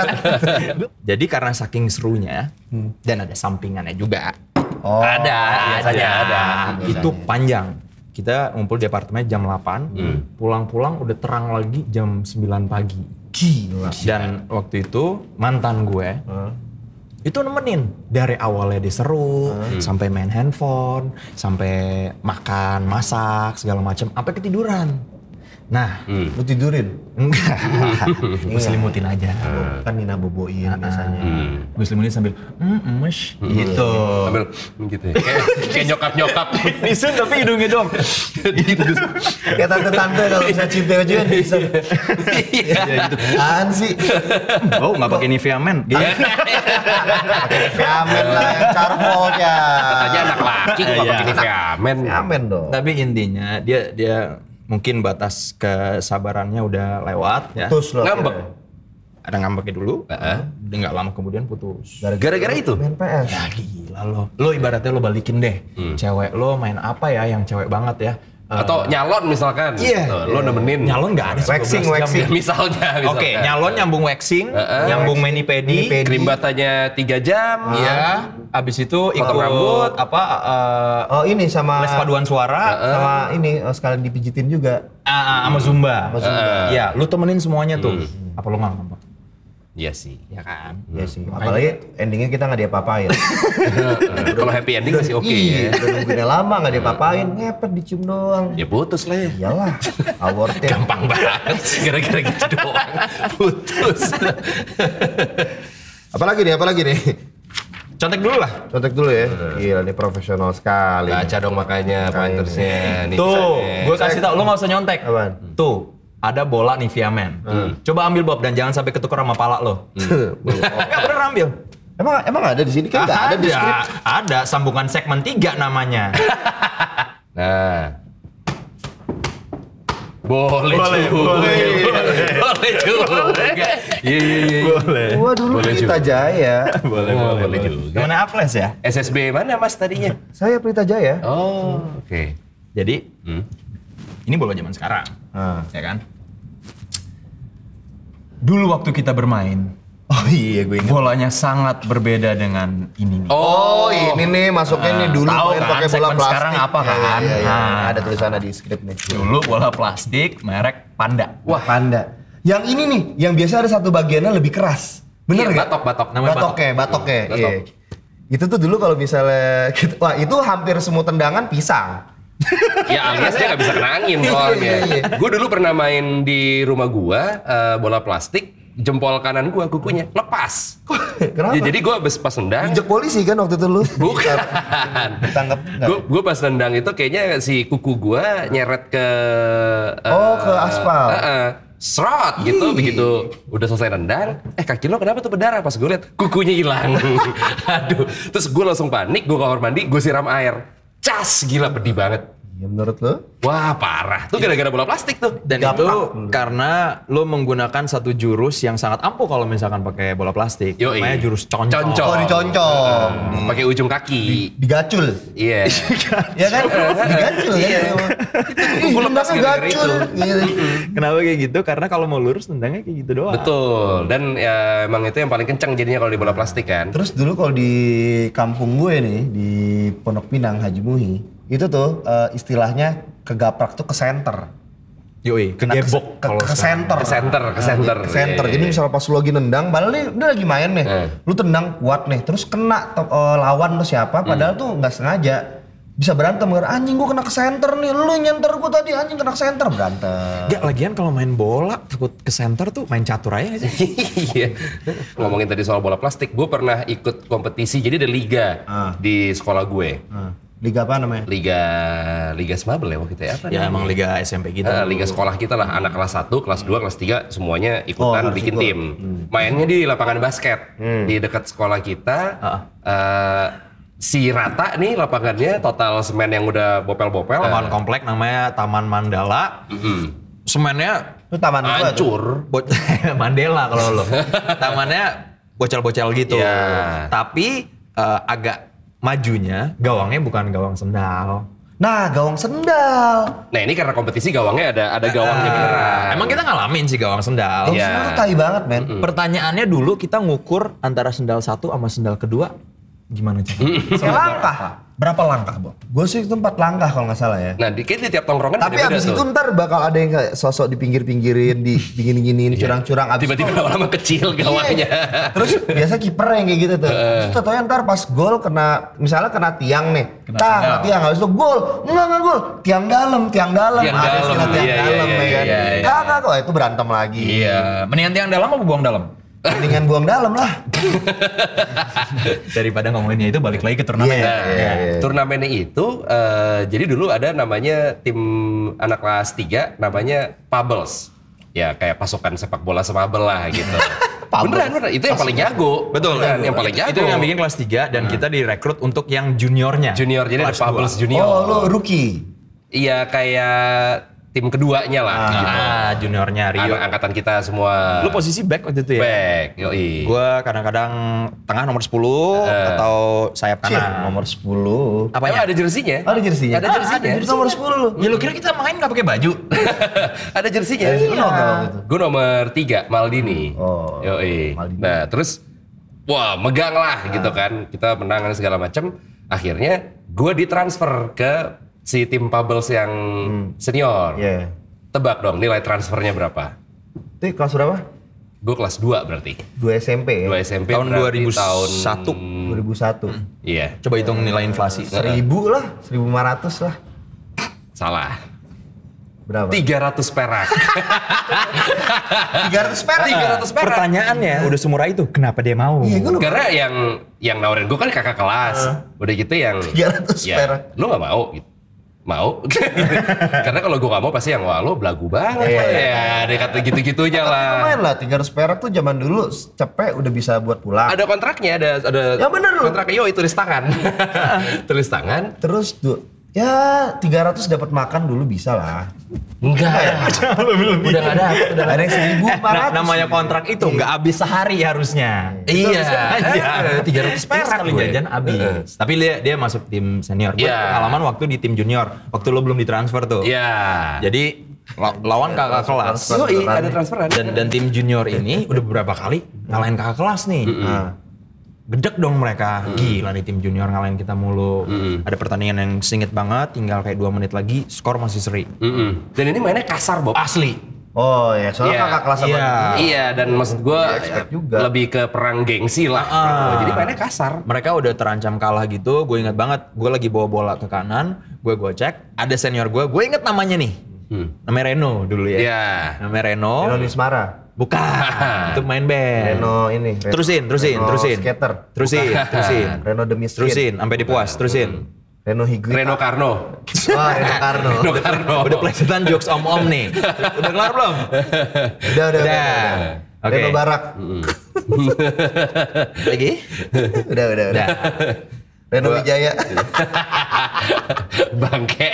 S3: Jadi karena saking serunya
S1: Hmm.
S3: dan ada sampingannya juga.
S2: Oh.
S1: Ada, biasanya ada.
S3: Itu panjang. Kita ngumpul di apartemen jam 8,
S1: Hmm.
S3: pulang-pulang udah terang lagi jam 9 pagi.
S2: Gila.
S3: Dan waktu itu mantan gue itu nemenin dari awalnya diseru
S1: Hmm.
S3: sampai main handphone, sampai makan, masak, segala macam, sampai ketiduran. Nah,
S1: Hmm.
S2: Lu tidurin.
S3: Enggak. gue selimutin aja.
S2: Kan Nina boboin biasanya.
S1: Hmm.
S3: Gue selimutin sambil, mm, mesh, gitu.
S1: Sambil gitu ya. Kayak- Kayak nyokap-nyokap.
S3: Nisun tapi hidungnya dong.
S1: Gitu.
S2: Kayak tante-tante kalau bisa cinta aja kan bisa.
S1: Iya.
S2: Iya, Apaan sih?
S3: Oh, nggak pakai Nivea men. Gitu.
S2: Viamen lah yang carbolnya.
S1: Katanya anak laki, gue
S3: Iya.
S1: pakai Nivea men.
S2: Viamen dong.
S3: tapi intinya dia dia mungkin batas kesabarannya udah lewat ya.
S2: Putus loh.
S1: Ngambek.
S3: Ada ngambeknya dulu,
S1: Heeh.
S3: udah nggak lama kemudian putus.
S1: Gara-gara itu. Nah, gitu.
S2: Main PS.
S3: Ya gila lo, lo ibaratnya lo balikin deh, cewek lo main apa ya yang cewek banget ya. Eh,
S1: Atau nyalon misalkan.
S3: Iya.
S1: Tuh, Lo nemenin.
S3: nyalon nggak ada sih
S2: Waxing,
S3: 12 jam
S2: waxing.
S3: ya.
S1: Misalnya. misalnya.
S3: Oke, nyalon nyambung waxing, nyambung mani pedi,
S2: Mani pedi.
S1: Krim batanya 3 jam. ya.
S3: ya, abis itu ikut
S1: rambut.
S3: apa eh,
S2: Oh ini sama
S3: les paduan suara
S2: sama
S1: Eh.
S2: ini oh, sekalian dipijitin juga.
S3: ah, ah, sama zumba.
S2: Zumba.
S3: Ya, lu temenin semuanya tuh. Apa lu nggak ngambek?
S1: Iya sih.
S3: Ya kan.
S2: Iya sih.
S1: Hmm.
S2: Apalagi endingnya kita nggak diapa-apain.
S1: Eh, Kalau happy ending masih oke ya.
S2: Iya, udah nungguinnya lama nggak diapa-apain, ngepet dicium doang.
S1: Ya putus lah ya.
S2: Iyalah, ya. awardnya.
S1: Gampang banget sih, gara-gara gitu doang. Putus.
S2: Apalagi nih, apalagi nih.
S3: Contek dulu lah.
S2: Contek dulu ya. Gila nih profesional sekali.
S1: Baca dong makanya kan- pointersnya. Nih,
S3: Tuh,
S1: misalnya.
S3: gue kasih tau, lu nggak usah nyontek.
S2: Apaan?
S3: Tuh, ada bola Nivea Men. Coba ambil Bob dan jangan sampai ketukar sama pala lo. Gak bener ambil.
S2: emang emang ada di sini
S1: Ah,
S2: kan nggak ada di skrip.
S3: ada sambungan segmen 3 namanya.
S1: Nah. Boleh,
S3: Boleh,
S1: juga.
S3: boleh,
S1: Boleh juga. Iya, iya, iya.
S3: Boleh.
S2: Wah dulu
S1: Boleh
S2: Prita Jaya.
S1: Boleh, boleh, boleh juga.
S3: Temennya Aples ya?
S1: SSB mana mas tadinya?
S2: Saya Prita Jaya.
S1: Oh, oke.
S3: Jadi,
S1: Hmm.
S3: ini bola zaman sekarang.
S2: Ah.
S3: Ya kan? Dulu waktu kita bermain,
S2: Oh iya gue ingat.
S3: bolanya sangat berbeda dengan ini nih.
S2: Oh, ini nih masuknya nih dulu
S3: Tahu
S2: main
S3: kan,
S2: pakai bola
S3: segmen
S2: plastik.
S3: sekarang apa
S2: Iya, iya,
S3: kan?
S2: iya, iya.
S3: Nah.
S2: Ada tulisannya di skrip nih.
S3: Dulu bola plastik merek Panda.
S2: Wah, panda. Yang ini nih, yang biasa ada satu bagiannya lebih keras. Bener
S1: Iya,
S2: nggak?
S1: batok, batok.
S3: Namanya
S2: batok. Batoknya, batoknya.
S1: Batok.
S2: Iya. Itu tuh dulu kalau misalnya, gitu- wah itu hampir semua tendangan pisang.
S1: Ya alias dia nggak bisa kena angin
S2: Iya,
S1: soalnya. Gue dulu pernah main di rumah gua eh, bola plastik, jempol kanan gua kukunya lepas.
S2: Kenapa?
S1: Ya, jadi gua abis pas nendang,
S2: Injek polisi kan waktu itu lu?
S1: Bukan.
S2: Ditangkap nggak?
S1: Gue pas nendang itu kayaknya si kuku gue nyeret ke... eh,
S2: Oh, ke aspal.
S1: eh, eh, serot gitu, begitu udah selesai nendang, eh kaki lo kenapa tuh berdarah? Pas gue liat, kukunya hilang. Aduh, terus gue langsung panik, gue kamar mandi, gue siram air. Cas, gila pedih banget.
S2: Ya menurut lu?
S1: Wah parah, tuh gara-gara bola plastik tuh.
S3: Dan itu karena lo menggunakan satu jurus yang sangat ampuh kalau misalkan pakai bola plastik.
S1: Yoi.
S3: Namanya jurus concong.
S1: Concong.
S2: Oh, diconcong.
S3: Hmm.
S1: Pakai ujung kaki.
S2: Digacul.
S1: Iya.
S2: Ya kan? Digacul kan? emang. Ih,
S1: Gua lepas
S2: tendangnya
S1: gara-gara
S2: gacul. Gitu.
S3: Kenapa kayak gitu? Karena kalau mau lurus tendangnya kayak gitu doang.
S1: Betul. Dan ya, emang itu yang paling kenceng jadinya kalau di bola plastik kan.
S2: Terus dulu kalau di kampung gue nih di Pondok Pinang Haji Muhi itu tuh eh, istilahnya kegaprak tuh ke center.
S3: Yoi,
S2: Nah, ke-
S3: kegebok
S2: ke,
S3: kalau
S2: ke
S3: sekarang.
S2: center.
S1: Ke center, ke center.
S2: Ke center.
S1: Iya,
S2: Jadi
S1: iya, iya.
S2: misalnya pas lu lagi nendang, padahal nih dia lagi main nih.
S1: Eh.
S2: Lu tendang kuat nih, terus kena to- eh, lawan tuh siapa padahal
S1: Hmm.
S2: tuh nggak sengaja bisa berantem gara anjing gua kena ke center nih lu nyenter gua tadi anjing kena ke center berantem
S3: Gak lagian kalau main bola takut ke center tuh main catur aja nggak sih.
S1: Iya. Ngomongin tadi soal bola plastik, gue pernah ikut kompetisi. Jadi ada liga
S2: Ah.
S1: di sekolah gue.
S2: Nah, liga apa namanya
S1: Liga Liga Smabel ya waktu itu ya. Apa
S3: ya
S1: namanya?
S3: emang liga SMP gitu.
S1: Eh, liga sekolah kita lah, anak kelas 1, kelas 2, kelas 3 semuanya
S2: Oh, Hmm.
S1: ikutan
S2: harus
S1: bikin
S2: ikut.
S1: tim. Mainnya di lapangan basket
S2: Hmm.
S1: di dekat sekolah kita.
S3: Ah.
S1: eh, si rata nih lapangannya total semen yang udah bopel-bopel.
S3: Taman komplek namanya Taman Mandala. Semennya
S2: lu taman gua tuh.
S1: hancur.
S3: Bo- Mandela kalau lo. Tamannya bocel-bocel gitu.
S1: Ya.
S3: Tapi eh, agak majunya gawangnya bukan gawang sendal.
S2: nah gawang sendal
S1: Nah ini karena kompetisi gawangnya ada ada
S2: Ah.
S1: gawangnya beneran.
S3: Emang kita ngalamin sih gawang sendal. Hmm.
S2: gawang
S1: Iya.
S2: sendal tuh tai banget men
S3: Pertanyaannya dulu kita ngukur antara sendal satu sama sendal kedua gimana
S1: Hmm.
S3: caranya?
S2: Kayak langkah. Berapa langkah, Bo? Gue sih itu empat langkah kalau nggak salah ya.
S1: Nah di, kayaknya di tiap tongkrongan
S2: Tapi
S1: beda-beda
S2: abis
S1: tuh.
S2: itu ntar bakal ada yang kayak sosok di pinggir-pinggirin, di gini-giniin, curang-curang. Abis
S1: Iya. tiba-tiba
S2: itu- Iya,
S1: lama-lama kecil
S3: Iya.
S1: gawangnya.
S2: Terus biasa kiper yang kayak gitu tuh. Terus tau ntar pas gol kena, misalnya kena tiang nih. Kena Tang, kena tiang. Habis itu gol. Enggak, enggak gol. Tiang dalam, tiang dalam.
S1: Tiang
S2: ada
S1: dalam,
S2: istilah tiang
S1: iya,
S2: dalam
S1: iya,
S2: ya
S1: iya,
S2: kan.
S1: iya, iya.
S2: Enggak, enggak kok. Itu berantem lagi.
S3: Iya, mendingan tiang dalam apa buang dalam?
S2: Mendingan buang dalam lah.
S3: Daripada ngomonginnya itu balik lagi ke turnamen.
S2: Iya,
S1: Nah,
S2: iya, iya.
S1: turnamennya itu eh, jadi dulu ada namanya tim anak kelas 3 namanya Pabels. Ya kayak pasukan sepak bola semabel lah gitu.
S2: Pabels.
S1: beneran, beneran. Itu yang paling jago.
S3: Betul,
S1: Beneran, yang paling
S3: Itu-
S1: jago. Hmm.
S3: Itu yang bikin kelas 3 dan kita direkrut untuk yang juniornya.
S1: junior, jadi ada
S3: Kelas dua.
S1: Pabels junior.
S2: Oh, lu rookie.
S1: Iya kayak tim keduanya lah. gitu.
S3: Ah, juniornya Rio.
S1: Anak angkatan kita semua.
S3: Lu posisi back waktu itu ya?
S1: back, yoi.
S3: Gue kadang-kadang tengah nomor 10 atau sayap
S2: Cih,
S3: kanan. ya?
S2: nomor 10.
S1: Apa ada
S3: Apanya?
S1: jersinya?
S2: Ada jersinya?
S1: Ada
S2: Ah,
S1: jersinya.
S2: ada jersi nomor 10 lu.
S3: Ya lu kira kita main nggak pakai baju?
S1: ada jersinya.
S2: Eh, lu nomor berapa gitu?
S1: Gue nomor tiga, Maldini.
S2: Oh,
S1: Yoi.
S2: Maldini. Ah.
S1: Nah, terus wah megang lah gitu kan. Kita menang dan segala macam. Akhirnya gue ditransfer ke si tim Pebbles yang senior.
S2: Iya.
S1: Tebak dong nilai transfernya berapa?
S2: Itu kelas berapa?
S1: Gue kelas 2 berarti.
S2: 2 SMP ya?
S1: 2 SMP
S4: Tahun
S1: berarti
S4: 2001.
S1: tahun
S2: 2001.
S1: Iya,
S4: Coba hitung nilai inflasi.
S3: Eh.
S2: 1000 lah, 1500 lah.
S1: salah.
S2: Berapa?
S1: 300 perak.
S2: 300 perak.
S1: 300 perak.
S3: Pertanyaannya udah semurah itu, kenapa dia mau?
S2: Iya, gue
S1: Karena yang yang nawarin gue kan kakak kelas.
S2: Ah.
S1: Udah gitu yang
S2: 300 perak.
S1: Lu gak mau gitu. Mau. Gitu. Karena kalau gue gak mau pasti yang wah lu belagu banget.
S2: Iya,
S1: ya, dia kata gitu-gitunya lah.
S2: lumayan lah 300 perak tuh zaman dulu capek udah bisa buat pulang.
S1: Ada kontraknya, ada ada
S2: Ya bener lu.
S1: kontraknya. Yo, tulis tangan. tulis tangan.
S2: Terus tuh ya 300 dapat makan dulu bisa lah.
S1: Enggak. Udah gak ada. Udah
S2: Ada yang 1400.
S3: Nah, namanya kontrak itu nggak habis sehari harusnya.
S1: Iya.
S3: Eh, tiga ratus perak Eh.
S1: gue.
S3: jajan habis. Tapi dia dia masuk tim senior. Gue
S1: Iya.
S3: pengalaman waktu di tim junior, waktu lo belum ditransfer tuh.
S1: Iya.
S3: Jadi la- Eh, lawan kakak kelas
S1: Yo, i, ada transferan.
S3: dan dan tim junior ini udah beberapa kali ngalahin kakak kelas nih. Nah, Gedek dong mereka. Gila nih tim junior ngalahin kita mulu. Ada pertandingan yang singkat banget, tinggal kayak dua menit lagi, skor masih seri.
S1: Mm-mm. Dan ini mainnya kasar, Bob.
S3: Asli.
S2: Oh ya, soalnya
S1: Iya.
S2: kakak kelas sama
S3: Iya.
S1: Iya, dan maksud gue
S2: expect Ah. juga.
S1: lebih ke perang gengsi lah. Jadi mainnya kasar.
S3: Mereka udah terancam kalah gitu, gue ingat banget, gue lagi bawa bola ke kanan, gue gue cek, ada senior gue, gue inget namanya nih, namanya Reno dulu ya,
S1: Hmm. Iya.
S3: namanya Reno,
S2: Reno Nismara.
S3: bukan, itu main band,
S2: Reno ini. Reno-
S3: terusin, terusin,
S2: Reno
S3: terusin,
S2: Skater.
S3: terusin, terusin,
S2: Reno The Miskin.
S3: terusin, sampai dipuas, terusin,
S2: Reno Higuita.
S1: Reno Karno.
S2: Wah, Reno Oh, Karno.
S1: Reno Karno.
S3: udah plesetan jokes om om nih, udah kelar belum?
S2: Udah, udah, udah. udah.
S3: Oke.
S2: Reno Barak.
S3: Lagi?
S2: udah, udah, udah.
S3: Udah.
S2: Reno Wijaya.
S1: Bangke.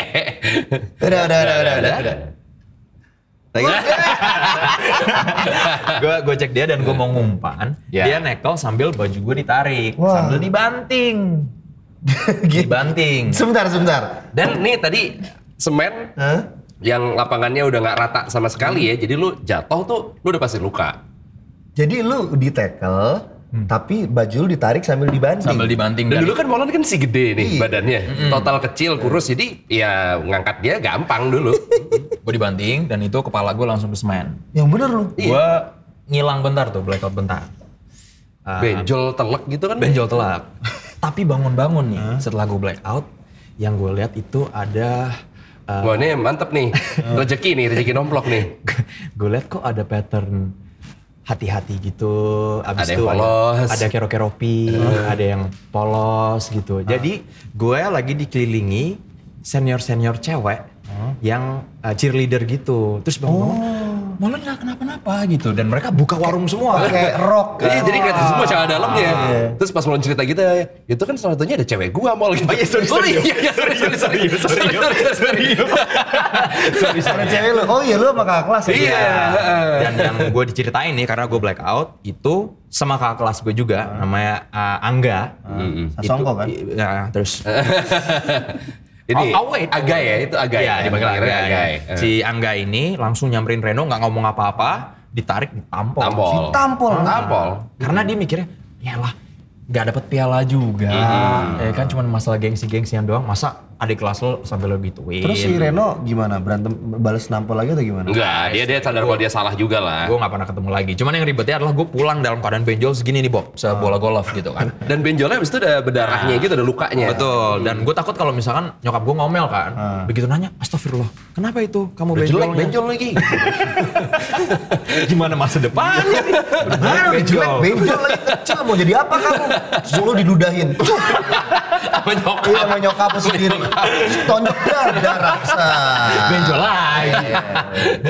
S2: udah, udah, udah, udah, udah.
S3: Lagi? gue gue cek dia dan gue mau ngumpan,
S1: Ya.
S3: dia nekel sambil baju gue ditarik,
S2: Wah.
S3: sambil dibanting,
S2: Gini.
S3: dibanting.
S2: Sebentar, sebentar.
S1: Dan nih tadi semen
S2: Hah?
S1: yang lapangannya udah nggak rata sama sekali ya. Jadi lu jatuh tuh lu udah pasti luka.
S2: Jadi lu di tackle, tapi baju lu ditarik sambil dibanting.
S4: Sambil dibanting dari
S1: Dan dulu kan Molan kan si gede nih
S2: Iya.
S1: badannya. Total kecil kurus jadi ya ngangkat dia gampang dulu.
S4: gue dibanting dan itu kepala gue langsung ke semen.
S2: Yang bener lu.
S3: Gue ngilang bentar tuh, blackout bentar. Ah,
S1: Benjol telek gitu kan.
S3: benjol telak. Tapi bangun-bangun nih, setelah gue blackout, yang gue lihat itu ada... eh,
S1: Wah ini mantep nih. Rezeki nih, rezeki nomplok nih.
S3: gue lihat kok ada pattern hati-hati gitu, abis
S1: Ada yang
S3: itu
S1: polos.
S3: ada kero-keropi, ada yang polos gitu. Jadi gue lagi dikelilingi senior-senior cewek yang eh, cheerleader gitu. Terus bangun,
S4: Malah nggak kenapa-napa gitu dan mereka buka
S3: buka warung semua.
S2: Kayak rock.
S1: Iya, jadi kelihatan semua cara dalamnya. Terus pas mulai cerita gitu, itu kan salah satunya ada cewek gua mall gitu. Oh iya, sorry, sorry. Iya, iya, sorry, sorry, sorry, sorry, sorry, sorry, sorry.
S2: Sama cewek lu. Oh iya lu sama kakak kelas ya?
S1: Iya. heeh.
S3: Dan yang gue diceritain nih karena gue blackout itu sama kakak kelas gue juga namanya uh, Angga.
S2: Sasongko kan?
S3: Ya, terus
S1: Ini
S3: Oh, Awet.
S1: agai ya, itu agai.
S3: Iya, dipanggil Angga.
S1: Akhirnya agai.
S3: ya. Si Angga ini langsung nyamperin Reno nggak ngomong apa-apa, ditarik ditampol.
S1: Tampol.
S2: Tampol.
S1: Eh. Tampol.
S3: Karena dia mikirnya, yalah nggak dapet piala juga.
S1: Hmm.
S3: Ya kan cuma masalah gengsi-gengsian doang. Masa adik kelas lo sampai lo gituin.
S2: Terus si Reno gimana? Berantem balas nampol lagi atau gimana?
S1: Enggak, dia dia sadar kalau dia salah juga lah.
S3: gue Nah, nggak pernah ketemu lagi. Cuman yang ribetnya adalah gue pulang dalam keadaan benjol segini nih Bob,
S1: Hmm.
S3: sebola golf gitu kan.
S1: Dan benjolnya abis itu ada berdarahnya gitu, ada lukanya.
S3: Betul. Dan gue takut kalau misalkan nyokap gue ngomel kan, begitu nanya, astagfirullah, kenapa itu kamu
S1: Udah
S3: benjol?
S1: Hmm. jelek benjol lagi.
S3: Gimana masa depannya? nih?
S2: Baru jelek, benjol lagi kecil mau jadi apa kamu? Suruh diludahin.
S1: Apa nyokap?
S2: Iya sama nyokap lu sendiri. Tonjok darah darah. Sat.
S3: benjol
S2: iya,
S3: lagi.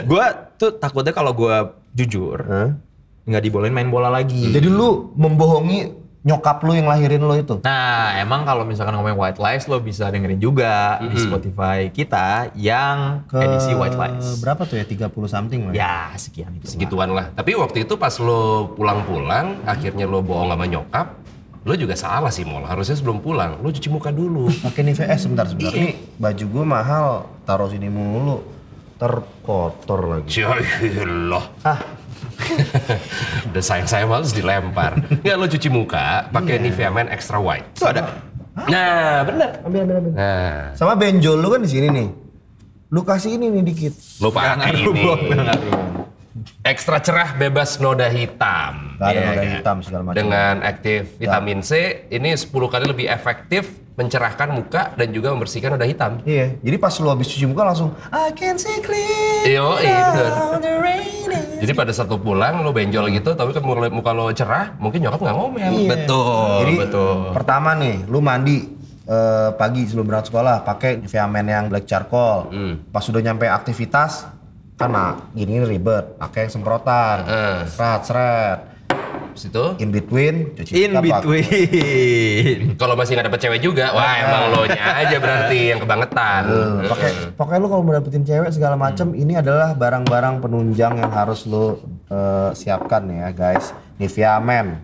S3: gue tuh takutnya
S2: Hmm.
S3: kalau gue jujur, nggak dibolehin main bola lagi.
S2: Jadi lu membohongi nyokap lu yang lahirin lu itu.
S3: Nah, emang kalau misalkan ngomongin White Lies, lo bisa dengerin juga di
S2: Hmm.
S3: Spotify kita yang Nah, edisi White Lies.
S2: Berapa tuh ya 30 something lah.
S3: Ya, sekian itu.
S1: segituan lah. Tapi waktu itu pas lo pulang-pulang, akhirnya lo bohong sama nyokap, lo juga salah sih Mol. Harusnya sebelum pulang, lo cuci muka dulu.
S2: Pakai nih VS sebentar sebentar. Ini baju gue mahal, taruh sini mulu. Terkotor lagi.
S1: Ya Jailah.
S2: Ah,
S1: Udah sayang-sayang malah terus dilempar. Nggak, lo cuci muka pakai Nivea Men Extra White.
S3: Itu ada.
S1: Nah, bener.
S2: ambil ambil ambil.
S1: Nah,
S2: Sama benjol lu kan di sini nih. Lu kasih ini nih dikit.
S1: lo pakai ini. Ekstra cerah bebas noda hitam.
S2: Nggak ada
S1: Iya
S2: noda
S1: nggak?
S2: hitam segala macam.
S1: Dengan aktif vitamin C, ini 10 kali lebih efektif mencerahkan muka dan juga membersihkan noda hitam.
S2: Iya, jadi pas lu habis cuci muka langsung I can see clear.
S1: Yo, iya bener.
S2: now the rain is-"
S1: Jadi pada satu pulang lo benjol gitu, tapi kan muka, muka lo cerah, mungkin nyokap nggak ngomel.
S2: Iya.
S1: Betul,
S2: Jadi
S1: betul.
S2: pertama nih, lu mandi eh, pagi sebelum berangkat sekolah pakai Nivea Men yang black charcoal. Pas sudah nyampe aktivitas kan mak gini ribet, pakai yang semprotan,
S1: Heeh.
S2: seret seret.
S1: Habis itu,
S2: In between, cuci
S3: In
S2: muka, Pak.
S3: between.
S1: kalau masih nggak dapet cewek juga, wah
S2: Iya.
S1: emang lo nya aja berarti yang kebangetan.
S2: Tuh, Pakai, pokoknya lu kalau mau dapetin cewek segala macam, ini adalah barang-barang penunjang yang harus lu eh, siapkan ya guys. Nivea Men.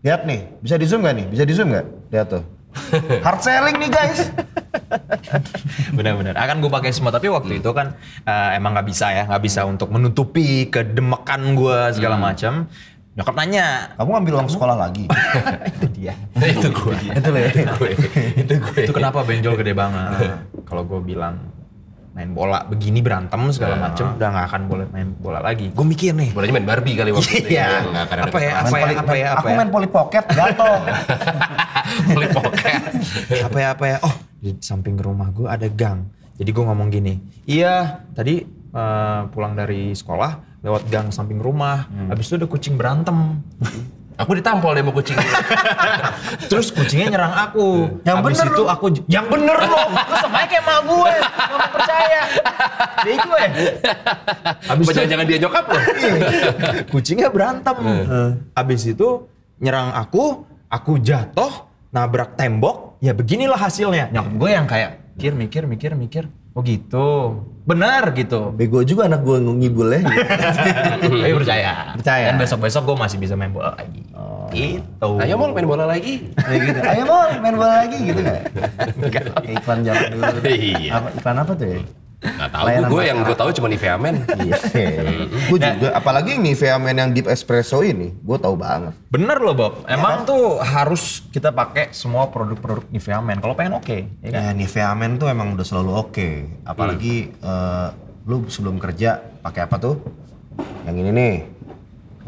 S2: Lihat nih, bisa di zoom gak nih? Bisa di zoom gak? Lihat tuh. Hard selling nih guys.
S3: Benar-benar. Akan gue pakai semua. Tapi
S2: Hmm.
S3: waktu itu kan eh, emang nggak bisa ya, nggak bisa untuk menutupi kedemekan gue segala
S2: Hmm.
S3: macam. Nyokap nanya,
S2: Kamu ngambil uang sekolah lagi.
S3: itu dia.
S1: itu gue.
S2: Itu loh ya.
S1: Itu gue. Itu gue.
S3: itu kenapa benjol gede banget? Kalau gue bilang main bola begini berantem segala macem udah nggak akan boleh main bola lagi. Gue mikir nih.
S1: Bolanya main Barbie kali waktu itu.
S3: Iya.
S1: ya, nggak akan ada
S3: Apa ya?
S1: ketahuan.
S2: Main
S3: Apa ya,
S2: poli-
S3: apa ya, apa
S2: aku
S3: ya?
S2: main poli pocket, jatuh.
S1: Beli poket.
S3: apa ya apa ya oh di samping rumah gue ada gang jadi gue ngomong gini iya tadi eh, pulang dari sekolah lewat gang samping rumah habis itu ada kucing berantem
S1: Aku ditampol deh sama kucing.
S3: terus kucingnya nyerang aku
S2: Yang
S3: habis
S2: bener
S3: itu
S2: lu.
S3: aku j- yang bener lo lu sama kayak emak gue gak mau percaya deh gue habis
S1: Apa
S3: itu
S1: jangan-jangan dia nyokap lo?
S2: Iya.
S3: kucingnya berantem Eh. habis itu nyerang aku aku jatuh nabrak tembok ya beginilah hasilnya nyokap gue yang kayak mikir mikir mikir mikir oh gitu benar gitu
S1: Hmm.
S2: Bego juga anak gue ngibulnya.
S1: Iya,
S3: tapi percaya
S2: Percaya.
S3: dan besok besok gue masih bisa main bola lagi gitu
S1: Ayo mau main bola lagi.
S2: Kayak gitu. Ayo mau main bola lagi gitu nggak? Kayak iklan zaman dulu.
S1: Iya.
S2: Apa, iklan apa tuh ya?
S1: Gak tau
S2: Layanan
S1: gue, yang gue tahu cuma Nivea Men.
S2: Iya. gue juga. Apalagi yang Nivea Men yang deep espresso ini, gue tahu banget.
S3: bener loh Bob emang tuh harus kita pakai semua produk-produk Nivea Men kalau pengen oke ya
S2: Ya,
S3: kan
S2: Nivea Men tuh emang udah selalu oke. Apalagi
S3: Hmm.
S2: eh, lu sebelum kerja pakai apa tuh? Yang ini nih.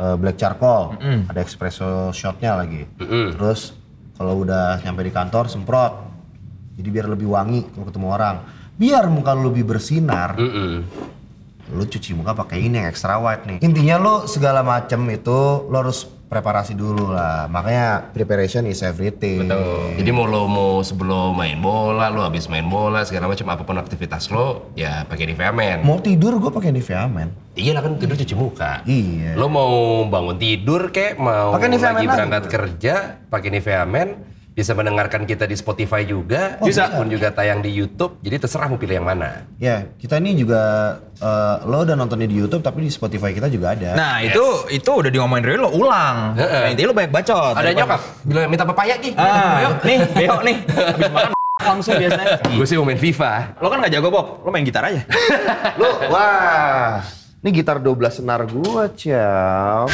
S2: eh, black charcoal,
S3: Hmm.
S2: ada espresso shotnya lagi. Terus kalau udah nyampe di kantor semprot. Jadi biar lebih wangi kalau ketemu orang. Biar muka lu lebih bersinar.
S1: Mm-mm.
S3: Hmm.
S2: lu cuci muka pakai ini yang extra white nih. Intinya lu segala macem itu lu harus preparasi dulu lah. Makanya preparation is everything.
S1: Oh. Jadi mau lo mau sebelum main bola, lo habis main bola, segala macam apapun aktivitas lo, ya pakai Nivea Men.
S2: Mau tidur gue pakai Nivea men.
S1: Iya lah kan tidur cuci muka.
S2: Iya.
S1: Lo mau bangun tidur kek, mau
S2: Pakai Nivea
S1: lagi
S2: Men
S1: berangkat kerja, pakai Nivea Men, bisa mendengarkan kita di Spotify juga, bisa pun juga tayang di YouTube. Jadi terserah mau pilih yang mana.
S2: Ya, kita ini juga eh, lo udah nontonnya di YouTube tapi di Spotify kita juga ada.
S3: nah itu itu udah diomongin dari lo ulang
S1: Heeh.
S3: nah, intinya lo banyak bacot
S1: Ada
S3: Daripada-
S1: nyokap, bilang minta pepaya Ki.
S3: Ah, nih, Beo nih. Iya. Habis makan langsung biasanya.
S1: Gue sih mau main FIFA.
S3: Lo kan gak jago, Bob. Lo main gitar aja.
S2: Lu wah, ini gitar 12 senar gua, ciao.